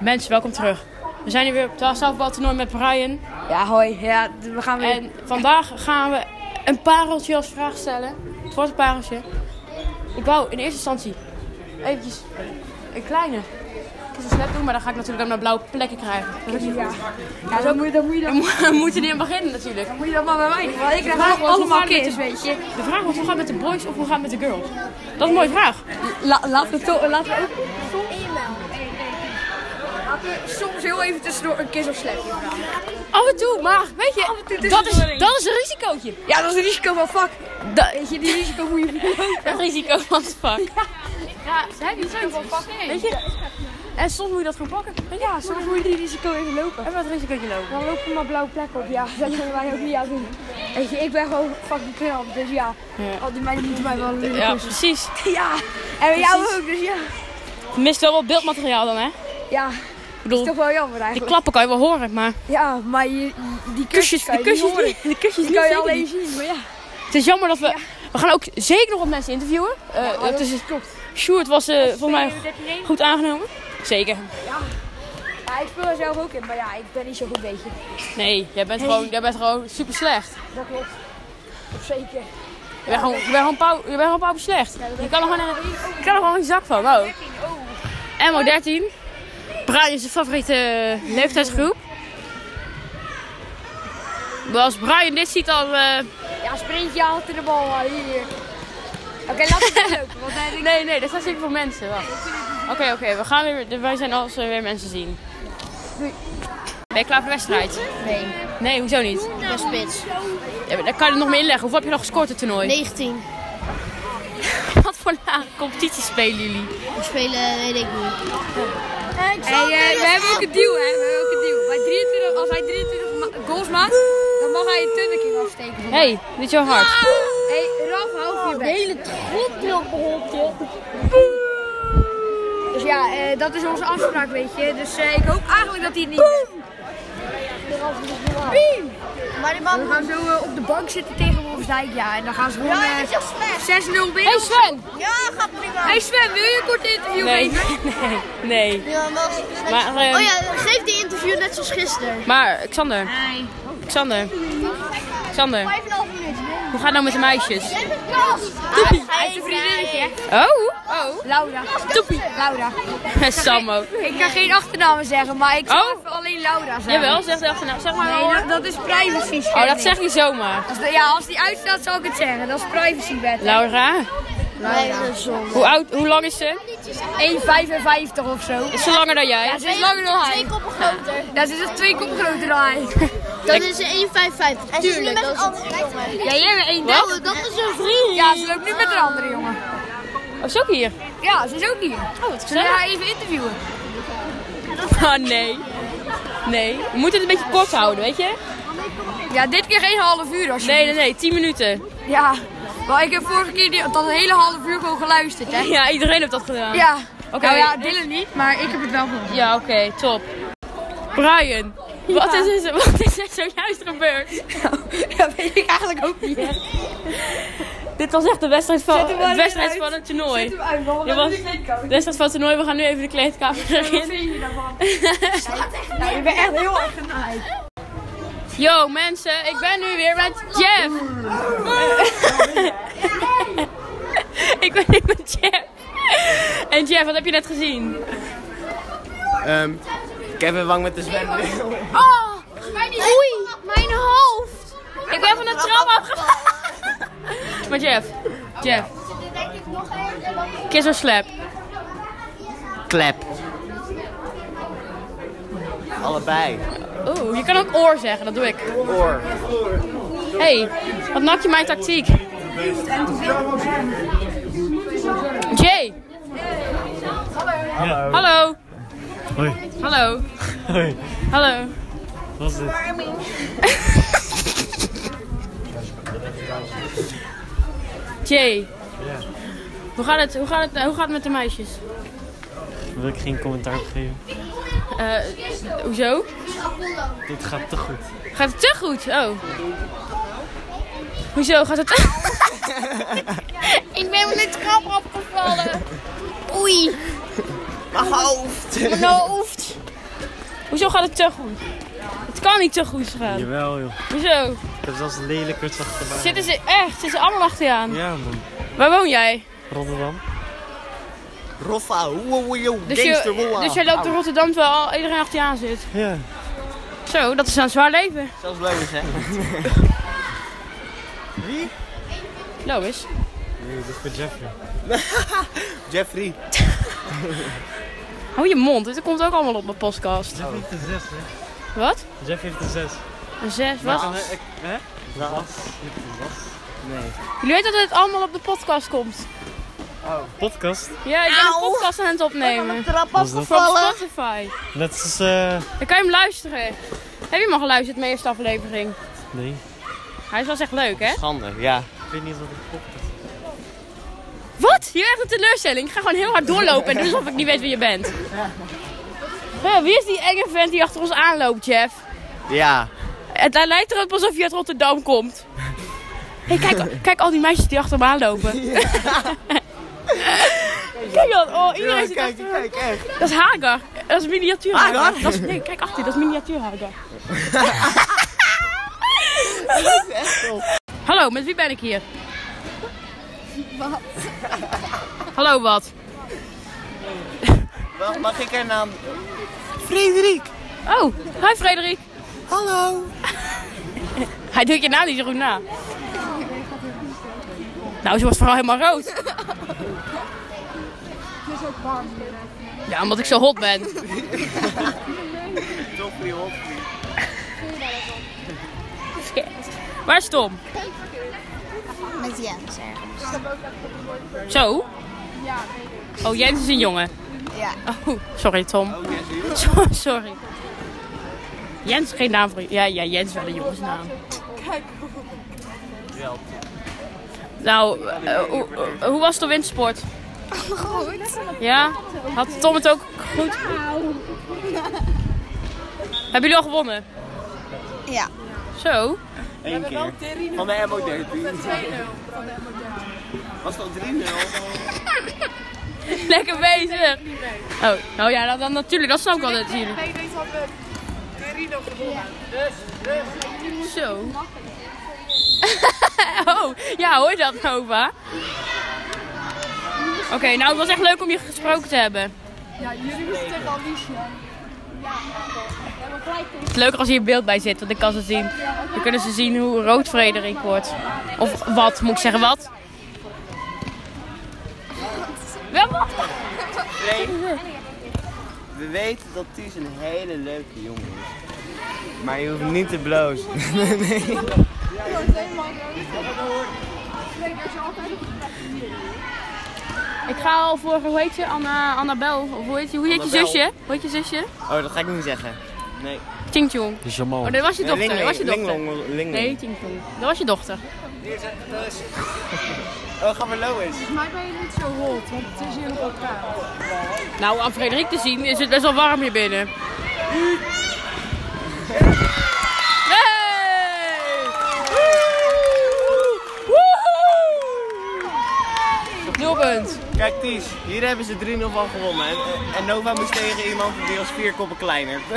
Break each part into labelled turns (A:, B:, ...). A: Mensen, welkom terug. We zijn hier weer op het zelfbaltoernooi met Brian.
B: Ja, hoi. Ja, d- we gaan weer.
A: En vandaag gaan we een pareltje als vraag stellen. Het wordt een pareltje. Ik wou in eerste instantie eventjes een kleine. Ik ga zo snel doen, maar dan ga ik natuurlijk dan naar blauwe plekken krijgen. Dat is niet
B: Ja,
A: goed.
B: ja dan, moet je, dan, moet je, dan,
A: Dan mo- dan moeten die in beginnen natuurlijk.
B: moet je dat maar bij mij doen. Want ik
A: vraag
B: krijg
A: was, hoe
B: allemaal
A: gaan we met
B: kids,
A: de-
B: weet je.
A: De vraag was hoe gaat het met de boys of hoe gaat het met de girls? Dat is een mooie vraag.
B: La, laten, we to, laten we ook soms... Laten we soms heel even tussendoor een kiss of slap doen.
A: Af en toe, maar weet je,
B: Af en toe is
A: dat,
B: het
A: is,
B: wel een-
A: dat is een risicootje.
B: Ja, dat is een risico van fuck.
A: Dat,
B: Weet je, die risico moet je verkopen.
A: dat risico van het vak. Ja, ze hebben iets van pakken. Weet je? En soms moet je dat gewoon pakken.
B: Ja, soms moet je die risico even lopen.
A: En wat risicootje lopen.
B: Dan lopen we maar blauwe plekken op. Ja, dat kunnen wij ook niet aan doen. Weet je, ik ben gewoon fucking knap. Dus ja,
A: Ja.
B: al die meiden moeten mij wel leren
A: Ja,
B: kussen.
A: precies.
B: Ja, en bij jou
A: Precies.
B: ook, dus ja.
A: Je mist wel wat beeldmateriaal dan, hè? Ik
B: Ja,
A: bedoel,
B: toch wel jammer
A: die
B: eigenlijk.
A: klappen kan je wel horen, maar
B: Ja, maar je, die
A: kusjes,
B: kusjes kan
A: de
B: je niet
A: kusjes,
B: horen.
A: niet, de kusjes
B: Die
A: niet,
B: kan je
A: zeker
B: alleen
A: niet.
B: zien, maar ja.
A: Het is jammer dat we... We gaan ook zeker nog wat mensen interviewen. Eh het is,
B: klopt.
A: Sjoerd was eh volgens mij goed aangenomen. Zeker.
B: Ja, ik speel er zelf ook in, maar ja, ik ben niet zo goed, weet je.
A: Nee, jij bent, gewoon, jij bent gewoon super slecht.
B: Dat klopt. Of zeker.
A: Je bent gewoon, je bent gewoon, pauw- je bent gewoon pauw slecht. Je kan er gewoon, je kan er gewoon geen zak van. Wow. MO13. Brian is de favoriete eh, leeftijdsgroep. Als Brian dit ziet, dan... eh,
B: Ja, sprintje haalt in de bal, maar hier. Oké, laten we het lopen, want dan heb ik...
A: Nee, nee, dat zijn zeker voor mensen. Wacht. Oké, oké, we gaan weer. Wij zijn als we weer mensen zien.
B: Doei.
A: Ben je klaar voor de wedstrijd?
C: Nee,
A: Nee, hoezo niet?
C: ik ben spits.
A: Ja, maar dan kan je er nog mee inleggen. Hoeveel heb je nog gescoord het toernooi?
C: 19.
A: Wat voor lage competitie spelen jullie?
C: We spelen, weet ik niet.
B: Hey, eh, we hebben ook een deal, hè. We hebben ook een deal. Bij 23, als hij 23 ma- goals maakt, dan mag hij een tunnelking afsteken.
A: Hé, hey, dit is jouw hart.
B: hey, Ralf, hou je bek.
C: godknoppenhokje.
B: Dus ja, eh, dat is onze afspraak, weet je. Dus eh, ik hoop eigenlijk dat hij het niet doet.
C: Maar die man...
B: We gaan zo eh, op de bank zitten tegen Wolfsdijk, ja. En dan gaan ze gewoon
C: Ja,
B: eh,
C: is
B: 6-0
C: slecht.
B: winnen.
A: Hé hey Sven!
C: Ja, gaat prima.
B: Hey Sven, wil je een kort interview
A: Nee,
B: geven?
A: nee, nee.
C: Ja, maar... als-
A: Maar, eh,
C: Oh ja, geef die interview net zoals gisteren.
A: Maar, Xander, Xander, Xander,
C: 5,5 minuten.
A: hoe gaat het nou met de meisjes?
C: Jij bent klas.
B: Uit een vriendinnetje.
A: Oh, oh.
B: Laura. Toepie. Laura.
A: Sam ook.
B: Ik kan geen achternamen zeggen, maar ik zal
A: Oh.
B: even alleen Laura zeggen.
A: Jawel, zeg de achternaam. Zeg maar
B: Nee,
A: hoor.
B: dat, dat is privacy
A: Oh, dat zeg je zomaar.
B: Als de- ja, als die uitstaat zal ik het zeggen. Dat is privacy wet.
A: Laura,
C: Nee, zon.
A: hoe oud, hoe lang is ze?
B: 1,55 of zo.
A: Is ze langer dan jij? Oh,
B: Ja, ze is langer dan hij.
C: Twee koppen groter.
B: Dat is echt twee kop groter dan hij.
C: Dat is een 1,55. Tuurlijk, dat is een
B: Ja, jij bent 1,30.
C: Oh, dat is een vriend.
B: Ja, ze loopt nu met een andere jongen.
A: Oh, is ze ook hier?
B: Ja, ze is ook hier.
A: Oh, wat
B: Zullen we
A: gezellig.
B: haar even interviewen?
A: Ah, nee. Nee, we moeten het een beetje kort houden, weet je?
B: Ja, dit keer geen half uur als je.
A: Nee, nee, nee, 10 minuten.
B: Ja, maar ik heb vorige keer die, dat hele half uur gewoon geluisterd, hè?
A: Ja, iedereen heeft dat gedaan.
B: Ja.
A: Oké.
B: Nou ja, Dylan niet, maar ik heb het wel gehoord.
A: Ja, oké, top. Brian, wat is er, wat is er zojuist gebeurd?
B: Dat weet ik eigenlijk ook niet. Zet
A: Dit was echt de wedstrijd van,
B: Zet hem maar
A: de wedstrijd
B: weer uit.
A: van het toernooi.
B: hem uit, want
A: Dit was
B: ik weet
A: de wedstrijd van het toernooi. We gaan nu even de kleedkamer in.
B: vind je daarvan? Nou, je bent echt heel erg genaaid.
A: Yo mensen, ik ben nu weer met Jeff. ik ben nu met Jeff. En Jeff, wat heb je net gezien?
D: Ehm, ik heb een wang met de zwemmen.
C: Oei, mijn hoofd.
A: Ik ben van de trap afgevallen. maar Jeff, Jeff, kiss or slap.
D: Klep. Allebei.
A: Oeh, je kan ook oor zeggen, dat doe ik.
D: Oor.
A: hey, wat nak je mijn tactiek? Jay. Hallo. Hallo.
E: Hoi.
A: Hallo.
E: Hoi.
A: Hallo.
E: Wat is dit?
A: Jay. Hoe gaat het, hoe gaat het, hoe gaat het met de meisjes?
E: Wil ik geen commentaar op geven?
A: Eh, hoezo?
E: Dit gaat te goed.
A: Gaat het te goed? Oh. Hoezo gaat het te...
C: Ik ben met de trap afgevallen. Oei,
D: Mijn hoofd.
C: mijn hoofd.
A: Hoezo gaat het te goed? Het kan niet te goed gaan.
E: Jawel joh.
A: Hoezo?
E: Ik heb zelfs lelijkers achterbaar.
A: Zitten ze echt? Zitten ze allemaal achter je aan?
E: Ja man.
A: Waar woon jij?
E: Rotterdam.
D: Roffa, wow, wow, wow,
A: Dus,
D: gangster,
A: je,
D: wow.
A: dus jij loopt in Rotterdam terwijl iedereen achter je aan zit.
E: Ja.
A: Zo, dat is een zwaar leven.
D: Zelfs Lois, hè? Wie?
A: Lois.
E: Nee, dit is voor Jeffrey.
D: Jeffrey.
A: Hou je mond, dit komt ook allemaal op mijn podcast.
E: Jeffrey heeft een zes hè.
A: Wat?
E: Jeffrey heeft een zes.
A: Een zes, wat?
E: Hè? Zas. Je hebt een zas.
D: Nee.
A: Jullie weten dat het allemaal op de podcast komt.
E: Podcast.
A: Ja, ik ben een
C: Auw.
A: podcast aan het opnemen.
C: Trap
E: Was dat?
A: Van
C: afgevallen.
A: Spotify.
E: Net als eh...
A: Dan kan je hem luisteren. Heb je hem al geluisterd, mijn eerste aflevering?
E: Nee.
A: Hij is wel echt leuk, hè?
D: Schande, ja.
E: Ik weet niet eens wat ik podcast.
A: Wat? Je bent echt een teleurstelling. Ik ga gewoon heel hard doorlopen en doen alsof ik niet weet wie je bent. Huh, wie is die enge vent die achter ons aanloopt, Jeff?
D: Ja.
A: Het lijkt erop alsof je uit Rotterdam komt. Hey, kijk, kijk al die meisjes die achter me aanlopen. kijk dat. Oh, iedereen zit achter me.
D: kijk, echt.
A: Dat is Hagar. Dat is miniatuur Hagar.
D: Hagar?
A: Dat is, nee, kijk achter je. Dat is miniatuur Hagar. Hallo, met wie ben ik hier? Wat? Hallo, wat?
D: Wel, Mag ik haar naam?
A: Oh, hi Frederik.
D: Hallo.
A: Hij doet je naam niet zo goed na. Nou, ze was vooral helemaal rood. Het is ook warm Ja, omdat ik zo hot ben.
D: Joffrey, hoor.
A: Waar is Tom?
C: Met Jens ergens.
A: Zo? Oh, Jens is een jongen.
C: Ja.
A: Oh, sorry Tom. So- sorry. Jens, geen naam voor je. Ja, ja, Jens is wel een jongensnaam. Nou, eh, hoe- eh, hoe was de windsport? Goed. Ja? Had Tom het ook goed?
C: Nou.
A: Hebben jullie al gewonnen?
C: Ja.
A: Zo.
D: Eén keer. Van de MO13. Was dat 3-0?
A: Lekker bezig. Oh, nou ja, dat, dan natuurlijk. Dat snap ik wel dat jullie. Zo. oh, ja, hoor je dat, Nova? Oké, nou, het was echt leuk om je gesproken te hebben. Het is leuker als hier beeld bij zit, want ik kan ze zien. Dan kunnen ze zien hoe rood Frederik wordt. Of wat, moet ik zeggen, wat? Wel wat?
D: Nee. We weten dat Ties een hele leuke jongen is. Maar je hoeft hem niet te blozen. nee.
A: Ik ga al voor, hoe heet je, Anna, Annabel? Of hoe heet je, hoe heet je
D: Annabel.
A: zusje? Hoe heet je zusje?
D: Oh, dat ga ik niet zeggen. Nee.
A: Ching Chong.
E: Dus Jamal.
A: Oh, dat was je dochter, dat
D: Linglong,
A: was je dochter.
D: Linglong, Linglong.
A: Nee, Ching Chong. Dat was je dochter.
D: Hier zet het dus. Oh, gaan we Lois.
A: Nou, aan Frederik te zien is het best wel warm hier binnen. Hey! Woehoe! Woehoe! Nul punt.
D: Kijk Ties, hier hebben ze 3-0 van gewonnen. En, en Nova moest tegen iemand die als vier koppen kleiner.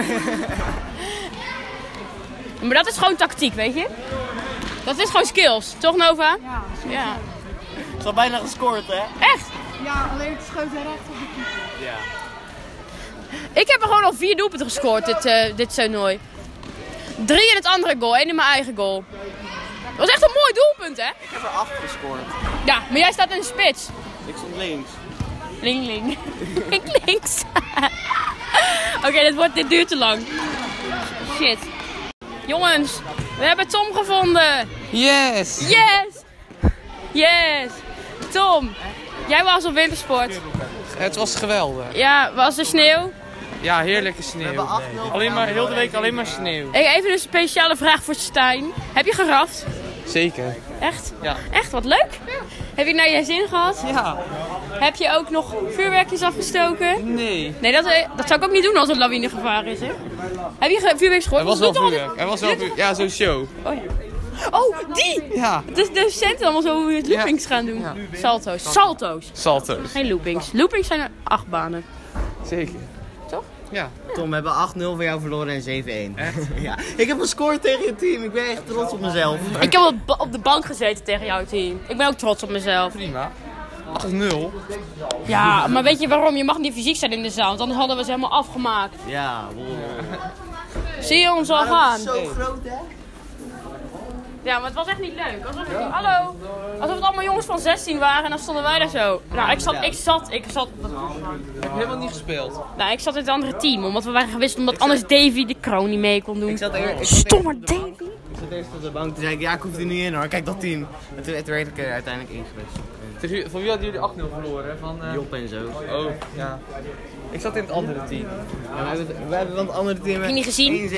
A: Maar dat is gewoon tactiek, weet je? Dat is gewoon skills, toch Nova? Ja. ja.
D: Ze had bijna gescoord, hè?
A: Echt?
D: Ja.
A: Ik heb er gewoon al vier doelpunten gescoord dit, eh dit toernooi. Drie in het andere goal, één in mijn eigen goal. Dat was echt een mooi doelpunt, hè?
D: Ik heb er 8 gescoord.
A: Ja, maar jij staat in de spits.
D: Ik stond links.
A: Ling, ling. Ling, links. Oké, dit, wordt- dit duurt te lang. Shit. Jongens, we hebben Tom gevonden.
D: Yes!
A: Yes! Yes! Tom, jij was op wintersport.
F: Het was geweldig.
A: Ja, was er sneeuw?
F: Ja, heerlijke sneeuw. Alleen maar, heel de week alleen maar sneeuw.
A: Hey, Even een speciale vraag voor Stijn. Heb je geraft?
F: Zeker.
A: Echt?
F: Ja.
A: Echt, wat leuk. Heb je naar je zin gehad?
F: Ja.
A: Heb je ook nog vuurwerkjes afgestoken?
F: Nee.
A: Nee, dat, eh, dat zou ik ook niet doen als het lawinegevaar is, hè? Heb je ge- vuurwerkjes gehoord?
F: Er was wel
A: Doet allemaal-
F: vuurwerk. Er was wel vuurwerk. Ja, zo'n show.
A: Oh, ja. oh, die!
F: Ja.
A: Dus de docenten allemaal zo hoe het loopings gaan doen.
F: Ja.
A: Salto's. Salto's.
F: Salto's.
A: Geen loopings. Loopings zijn er acht banen.
F: Zeker.
A: Toch?
F: Ja.
D: Tom, we hebben 8-0 van jou verloren en 7-1.
F: Echt?
D: ja. Ik heb gescoord tegen je team. Ik ben echt trots op mezelf.
A: Ik heb op, op de bank gezeten tegen jouw team. Ik ben ook trots op mezelf.
F: Prima. 8-0.
A: Ja, maar weet je waarom? Je mag niet fysiek zijn in de zaal, want anders hadden we ze helemaal afgemaakt.
D: Ja, wow.
A: Zie je ons al gaan?
D: Zo groot, hè?
A: Ja, maar het was echt niet leuk. Alsof het, Hallo! Alsof het allemaal jongens van 16 waren en dan stonden wij daar zo. Nou, ik zat, ik zat, ik zat,
F: Ik heb helemaal niet gespeeld.
A: nou, ik zat in het andere team, omdat we waren gewisseld omdat anders Davy de kroon niet mee kon doen.
D: Ik zat er. Ik zat
A: Stomme Davy!
D: Ik zat eerst op de bank te zeggen, ja, ik hoef er niet in hoor, kijk dat team. En toen, toen werd ik er uiteindelijk ingewisseld.
F: Tegen, wie- van wie hadden jullie 8-0 verloren? hè? Van, eh,
D: Job en zo. Ja,
F: Oh, ja. Ik zat in het andere team.
D: we, hebben, het- we hebben van het andere team... Heb
A: je niet gezien?
D: 1-7.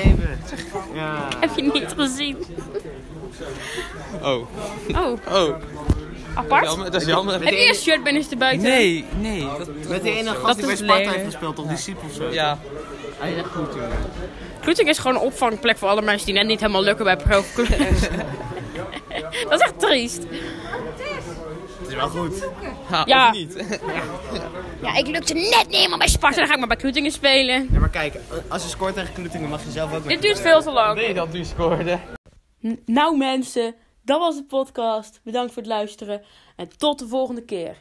D: Ja.
A: Heb je niet gezien?
F: Oh.
A: Oh,
F: Oh.
A: apart?
F: Jammer, dat is jammer.
A: Heb je een shirt ben te buiten?
F: Nee, nee. Dat,
D: Met die ene gast
A: Dat
D: die bij
A: is
D: Sparta
A: lelijk.
D: heeft gespeeld, toch? Die Siep of zo?
F: ja.
D: Hij is echt goed, jongen.
A: Kloeting is gewoon een opvangplek voor alle mensen die net niet helemaal lukken bij profclubs. Dat is echt triest.
D: Het is wel goed.
F: Ha,
A: Ja.
F: Of niet.
A: Ja, ik lukte net niet helemaal bij Sparta, dan ga ik maar bij Kloetingen spelen.
D: Ja, maar kijk, als je scoort tegen Kloetingen mag je zelf ook
A: Dit duurt veel te lang.
F: Nee, dat nu scoorde.
A: N- Nou mensen, dat was de podcast. Bedankt voor het luisteren en tot de volgende keer.